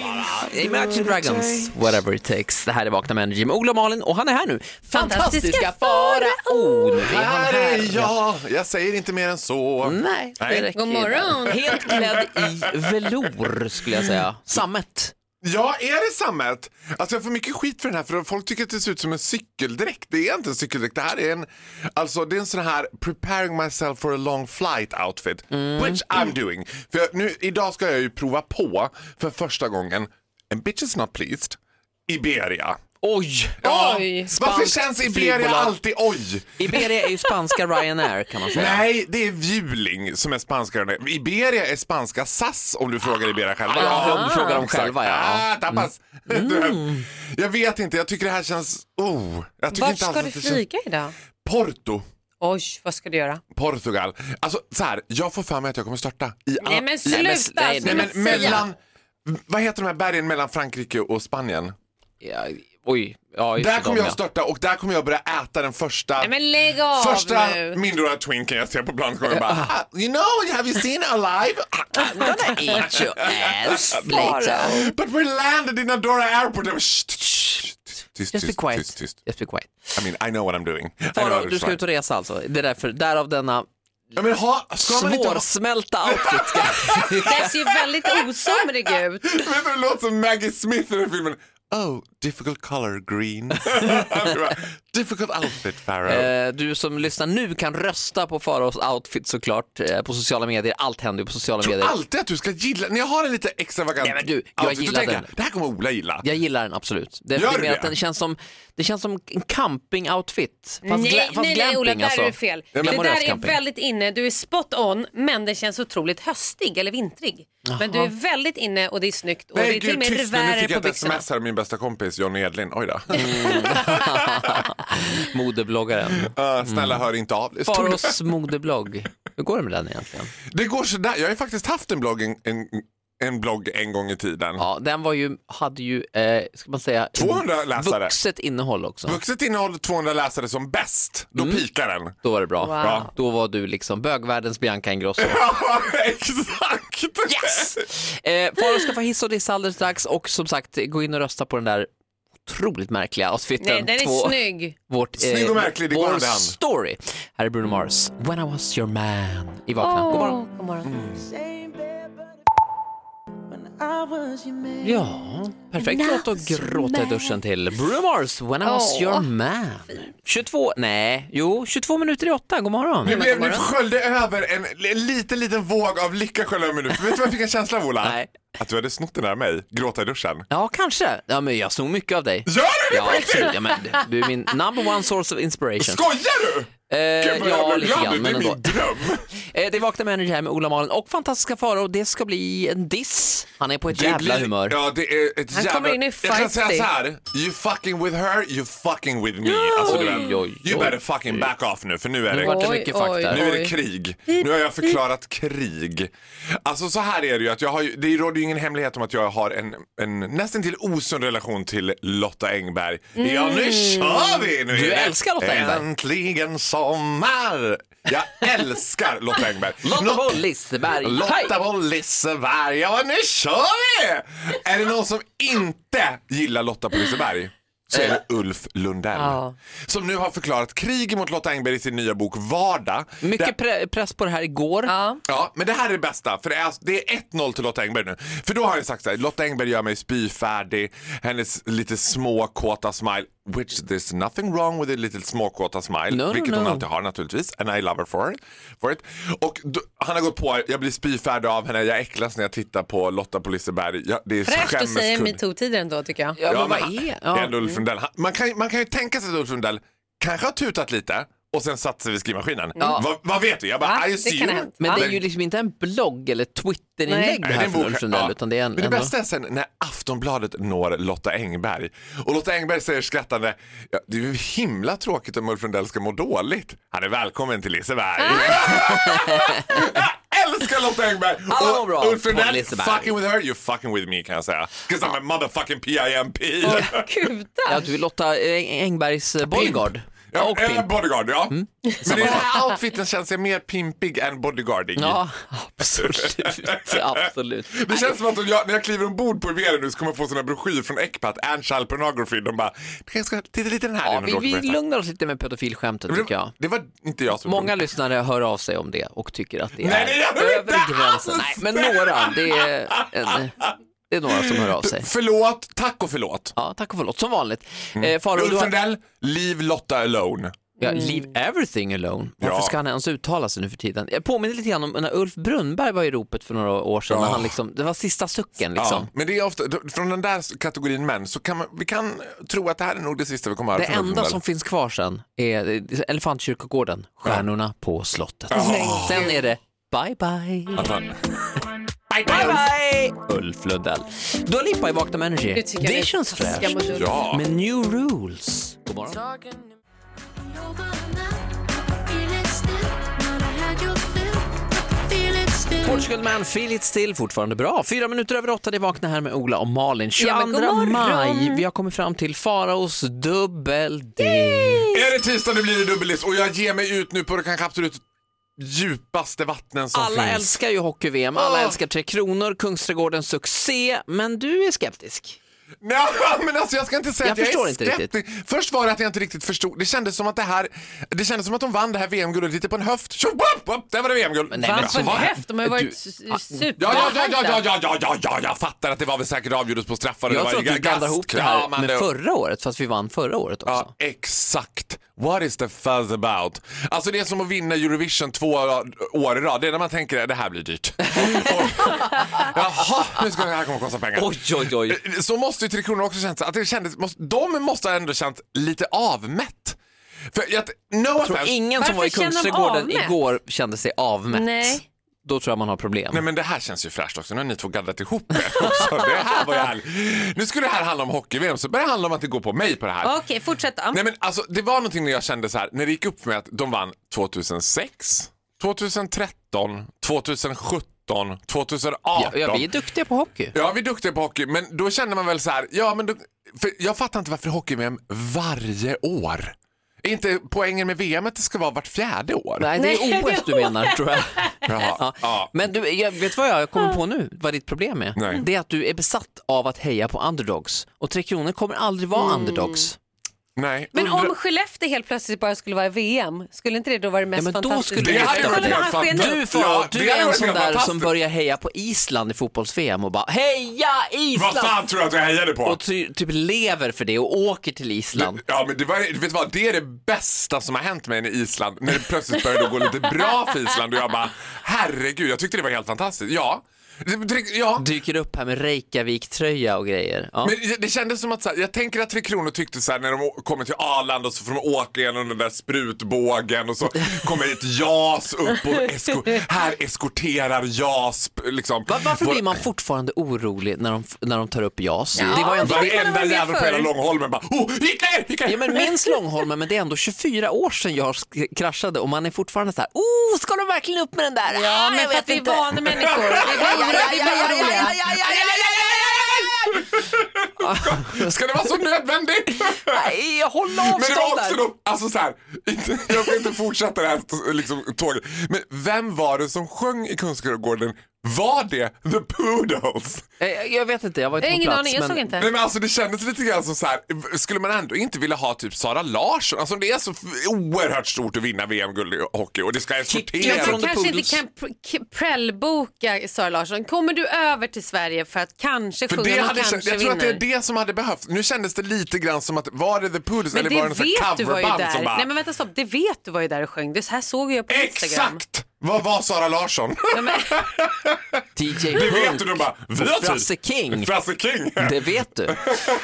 Ja, Imagine Dragons, whatever it takes. Det här är Vakna med Energy med Ola och Malin och han är här nu. Fantastiska Fantastiska Farao! Nu är han Här här. är jag! Mm. Jag säger inte mer än så. Nej, det Nej. räcker. God morgon. Helt klädd i velour skulle jag säga. Sammet. Ja, är det sammet? Alltså jag får mycket skit för den här för folk tycker att det ser ut som en cykeldräkt. Det är inte en cykeldräkt. Det här är en, alltså det är en sån här preparing myself for a long flight outfit. Which I'm doing. För jag, nu, idag ska jag ju prova på för första gången, and bitch is not pleased, Iberia. Oj! Oj. Varför Spanskt känns Iberia flygbolag. alltid oj? Iberia är ju spanska Ryanair kan man säga. Nej, det är Vjuling som är spanska. Iberia är spanska SAS om du frågar Iberia själva. Ah. Ja, om du frågar dem Exakt. själva, ja. Mm. Ah, tapas. jag vet inte, jag tycker det här känns... Oh, jag tycker Vart inte ska alls att du det känns- flyga idag? Porto, Oj, vad ska du göra? Portugal. Alltså så här, jag får för mig att jag kommer starta i... Mm. Nej men sluta! men- ska nej, du Nej, inte men säga. mellan... Vad heter de här bergen mellan Frankrike och Spanien? Ja, oj, ja, just Där det, kommer de, jag ja. starta och där kommer jag börja äta den första... Nej men lägg av Första nu. mindre twinken jag ser på bland kommer jag bara ah, You know, have you seen alive? I'm gonna eat your ass later. But we landed in Adora Airport. Jag bara, "Shh, shh, tyst, tyst, Just be tyst, quiet. tyst, tyst. Just be quiet. I mean, I know what I'm doing. I know Farao, what du I'm ska ut och resa alltså. Det är därför, därav denna Ja, men ha, ska man inte ha... svårsmälta outfit. Ska... Det ser ju väldigt osomrig ut. Vet du, det låter som Maggie Smith i den filmen. Oh, difficult color green. Det var, difficult outfit, Farao. Eh, Du som lyssnar nu kan rösta på Faraos outfit såklart eh, på sociala medier. Allt händer ju på sociala Jag medier. tror alltid att du ska gilla, när jag har en lite extravagant Nej, men du, jag outfit, gillar då tänker den. jag, det här kommer Ola gilla. Jag gillar den absolut. Det, Gör det är du mer det? att den känns som, det känns som en camping-outfit. Fast, gla- Nej, fast nej, nej glamping Ola, där alltså. är du fel. men- det Glamorös där är camping. väldigt inne, du är spot on men det känns otroligt höstig eller vintrig. Men du är väldigt inne och det är snyggt och det är Nej, till och gud, med tyst nu. Nu revärer fick på jag ett byxorna. sms här av min bästa kompis Johnny Edlin. Oj då. Modebloggaren. Eh, snälla, Mm. hör inte av dig. Stod det- Faraos modeblogg. Hur går det med den egentligen? Det går sådär. Jag har ju faktiskt haft en blogg en, en, en, blogg en gång i tiden. Ja, den var ju, hade ju, eh, ska man säga, 200 läsare. vuxet innehåll också. Vuxet innehåll 200 läsare som bäst. Då Mm. pikar den. Då var det bra. Wow. Då var du liksom bögvärldens Bianca Ingrosso. Ja, exakt! Yes! Eh, Farao ska få hiss och diss alldeles strax och som sagt gå in och rösta på den där otroligt märkliga outfiten. Nej, den på är snygg. Vårt, eh, Snygg och märklig, det går vår hand i hand. story. Här är Bruno Mars, When I was your man i Vakna. God morgon. Åh, god morgon. Ja, perfekt låt att gråta i duschen till. Bruno Mars, When I was Åh. your man. 22, nej, jo, 22 minuter i åtta, god morgon. Nu, blev, nu morgon. sköljde över en, en liten, liten våg av lycka sköljde över mig nu. För Vet du vad jag fick en känsla av Ola? Nej. Att du hade snott den där av mig, gråta i duschen. Ja, kanske. Ja, men jag snor mycket av dig. Gör du det Ja, på riktigt? absolut. Ja, men, du är min number one source of inspiration. Skojar du? Eh, Gud, vad ja, jag blev lite glad grann, nu. men Det är ändå. min dröm. Eh, Det är Vakna med Energy här med Ola Malin och fantastiska Farao. Det ska bli en diss. Han är på ett jävla blir- humör. Ja, det är ett Han jävla... kommer in i Jag kan säga feisty. så här. You fucking with her, you fucking with me. Alltså, du vet, Oj, oj, You oj. better fucking back off nu, för nu är Nu det vart det Oj, mycket fakta. oj, Nu är det krig. Nu har jag förklarat krig. Alltså så här är det ju att jag har, ju- det råder ju ingen hemlighet om att jag har en, en nästan till osund relation till Lotta Engberg. Ja Mm. nu kör vi! Nu är Du det älskar Lotta Engberg. Äntligen sommar! Jag älskar Lotta Engberg. Lotta Nå- Boll, Liseberg. Lotta von Liseberg, ja nu kör vi! Är det någon som inte gillar Lotta på Liseberg så är det Ulf Lundell. Ja. Som nu har förklarat krig mot Lotta Engberg i sin nya bok Vardag. Mycket pre- press på det här igår. Ja. Ja, men det här är det bästa. För det är, alltså- det är 1-0 till Lotta Engberg nu. För då har jag sagt så här, Lotta Engberg gör mig spyfärdig, hennes lite småkåta smile, which there's nothing wrong with a little småkåta smile, No, no, vilket hon no. alltid har naturligtvis, and I love her for it. For it. Och då, han har gått på, jag blir spyfärdig av henne, jag äcklas när jag tittar på Lotta på Liseberg. Jag, det är Fräscht att säga skämmeskudd. metoo-tider ändå tycker jag. Ja, men men vad han- är... Det är Ja. ändå Ulf Lundell. Han- Man kan, man kan ju tänka sig att Ulf Lundell kanske har tutat lite och sen satt sig vid skrivmaskinen. Vad, vad vet du? Jag bara, Va? I Det kan ha assume- hänt. Men det är Men- ju liksom inte en blogg eller Nej. Twitterinlägg det Nej, här en från bok- Ulf Lundell, ja. utan det är en... Men det ändå- bästa är sen när Aftonbladet når Lotta Engberg och Lotta Engberg säger skrattande ja, det är ju himla tråkigt om Ulf Lundell ska må dåligt. Han är välkommen till Ah. Liseberg. jag älskar Lotta Engberg! Alla mår och bra Ulf på Lundell, Liseberg. fucking with her, you fucking with me kan jag säga. 'Cause I'm a motherfucking PIMP. Kuta! Ja, du är Lotta eh, Engbergs eh, bodyguard. Ja, och eller pimp. Mm. bodyguard, ja. Men i den här outfiten känns jag mer pimpig än bodyguarding. Ja, absolut. absolut. Det känns som att om jag, när jag kliver ombord på Rivera nu så kommer jag få såna broschyr från Ecpat, Ann Child Pornography. De bara, jag ska titta lite den här Ja, innan du vi, åker på vi resa." lugnar oss lite med pedofilskämtet Men tycker det, jag. det var inte jag som Många lyssnare hör av sig om det och tycker att det Nej, är det gör de över inte gränsen. Nej, alls! men några. Det är, en, eh, det är några som hör av sig. Förlåt, tack och förlåt. Ja, tack och förlåt. Som vanligt. Eh, Faro, du Mm. har, Ulf Sundell, leave Lotta alone. ja, leave everything alone. Varför Ja. ska han ens uttala sig nu för tiden? Jag påminner lite grann om när Ulf Brunnberg var i ropet för några år sedan. När Ja. han liksom, det var sista sucken Ja, liksom. men det är ofta, då- från den där kategorin män så kan man, vi kan tro att det här är nog det sista vi kommer att Det höra från Ulf enda Sundell. som finns kvar sen är Elefantkyrkogården, Stjärnorna på slottet. Sen är det bye bye. Att han- Bye bye! Ulf Lundell. Dua Lipa i Vakna med Energy. Nu tycker jag Det känns taskiga fräscht. mot Ulf. Ja. Med new rules. God morgon. Portugal Man, Feel It Still, fortfarande bra. Fyra minuter över åtta, det är Vakna här med Ola och Malin. 22 Ja, men god morgon. maj, vi har kommit fram till Faraos dubbel D. Är det tisdag nu blir det dubbelist och jag ger mig ut nu på det kanske absolut djupaste vattnen som Alla finns. älskar ju hockey-VM, alla Ah. älskar Tre Kronor, Kungsträdgårdens succé, men du är skeptisk. Nej, men alltså jag ska inte säga Jag att jag förstår är inte skeptisk. Först var det att jag inte riktigt förstod. Det kändes som att det här, det kändes som att de vann det här VM-guldet lite på en höft. Tjo, wop, wop, där var det VM-guld. nej, men Vann på alltså, en vad- höft, de har ju Du- varit s- s- Ja, ja, ja, ja, supertajta. ja, ja, ja, ja, ja, jag fattar att det var väl säkert avgjordes på straffar. och det Jag var tror att du ju blandar ihop det här gastkramande med och- förra året, fast vi vann förra året också. Ja, exakt. What is the fuzz about? Alltså det är som att vinna Eurovision två år i rad. Det är när man tänker det här blir dyrt. och, jaha, nu ska det här kommer att kosta pengar. Eh, Oj, oj, oj. Så måste ju Tre Kronor också känns att det kändes, måste, de måste ha ändå känt lite avmätt. För jag, no Jag tror offense. ingen som Varför var i känner de Kungsträdgården avmätt? igår kände sig avmätt. Nej. Då tror jag man har problem. Nej men det här känns ju fräscht också, nu har ni två gaddat ihop er också. Det här var ju härligt. Nu skulle det här handla om hockey-VM så börjar det handla om att det går på mig på det här. Okej, fortsätt då. Nej men alltså det var någonting när jag kände så här, när det gick upp för mig att de vann 2006, 2013, 2017, 2018. Ja, ja, vi är duktiga på hockey. Ja, vi är duktiga på hockey, men då känner man väl så här, ja men då, för jag fattar inte varför hockey-VM varje år. Är inte poängen med VM att det ska vara vart fjärde år? Nej, det Nej, är OS du menar tror jag. Jaha, ja. Ja. Men du, jag vet vad jag kommer på nu, vad ditt problem är? Nej. Det är att du är besatt av att heja på underdogs och Tre Kronor kommer aldrig vara underdogs. Nej. Men undra- om Skellefteå helt plötsligt bara skulle vara i VM, skulle inte det då vara det mest Ja, men då fantastiska? skulle det hade Kolla varit när helt han sken fantastiskt. upp. Du, får, Ja, du det är är en sån verkligen där som fantastiskt. börjar heja på Island i fotbolls-VM och bara heja Vad Island! fan tror du att jag hejade på? Och ty, typ lever för det och åker till Island. Ja men det var, vet du vad, det är det bästa som har hänt mig i Island. När det plötsligt började gå lite bra för Island och jag bara herregud, jag tyckte det var helt fantastiskt. Ja, Det- ja. Dyker upp här med Reykjavik-tröja och grejer. Ja. Men det- det kändes som att så här, jag tänker att Tre Kronor tyckte så här när de å- kommer till Arlanda och så får de åka igenom den där sprutbågen och så kommer ett JAS upp och esko, här eskorterar JAS liksom. Va- Varför Vår- blir man fortfarande orolig när de, när de tar upp JAS? Det var ju ändå... det blir man Varenda väl jävel på för? hela Långholmen bara oh, gick ner, gick ner. Ja men minns Långholmen, men det är ändå 24 år sedan jag sk- kraschade och man är fortfarande så här, oh, ska de verkligen upp med den där? Ah, Ja, men för att vi är vana människor. Vi blir oroliga, vi blir oroliga. Ska det vara så nödvändigt? Nej, håll avstånd Men det var också där. de, alltså så här, inte, jag ska inte fortsätta det här t- liksom, tåget. Men vem var det som sjöng i Kungsträdgården? Var det The Poodles? Eh, Jag vet inte, jag var inte Jag på har ingen plats. aning, jag såg inte. Nej men alltså det kändes lite grann som så här. skulle man ändå inte vilja ha typ Sara Larsson? Alltså det är så f- oerhört stort att vinna VM-guld i hockey och det ska Jag Jag tror tror eskorteras. Från The kanske Poodles. inte kan pr- k- prellboka Sara Larsson. Kommer du över till Sverige för att kanske För sjunga det och hade, kanske känt- jag tror vinner? att det är det som hade behövts. Nu kändes det lite grann som att var det The Poodles Men eller var det det en sån här vet du var ju coverband som där. bara Nej men vänta stopp, det vet du var ju där och sjöng. Det så här såg jag på Instagram. Exakt! Vad var Sara Larsson? Nej, men, DJ Det vet Punk du, de bara vi har och typ- Frasse King, Frasse King! det vet du.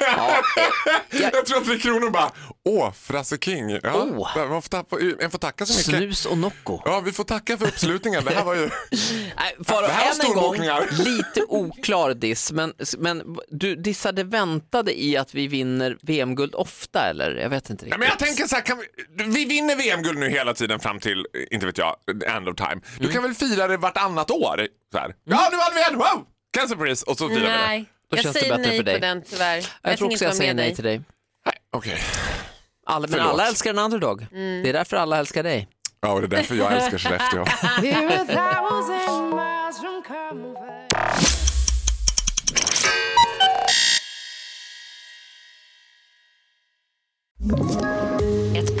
Ja, eh, jag, Jag tror att Tre Kronor bara, åh, Frasse King. Ja, Åh. man, får tappa, man får tacka så mycket. snus och Nocco. Ja, vi får tacka för uppslutningen. Det här var ju... Nej, Faro, Det här var än en gång, storbokningar. lite oklar diss, men, men du dissade väntade i att vi vinner VM-guld ofta eller? Jag vet inte Nej, riktigt. men jag tänker så här, kan vi, vi vinner VM-guld nu hela tiden fram till, eh, inte vet jag, the end of time. Du kan väl fira det vartannat år? Så här. Ja, nu vann vi en! Wow! Cancer Prize! Och så firar vi det. Mm. Nej, nej, Då känns jag det säger bättre för nej dig. på den tyvärr. jag tror också tänker inte jag vara säger med nej dig. till dig. okej. Alla, men Förlåt. alla älskar en underdog. Det är därför alla älskar dig. Ja, och det är därför jag älskar Skellefteå. We're a thousand miles from comfort. Ett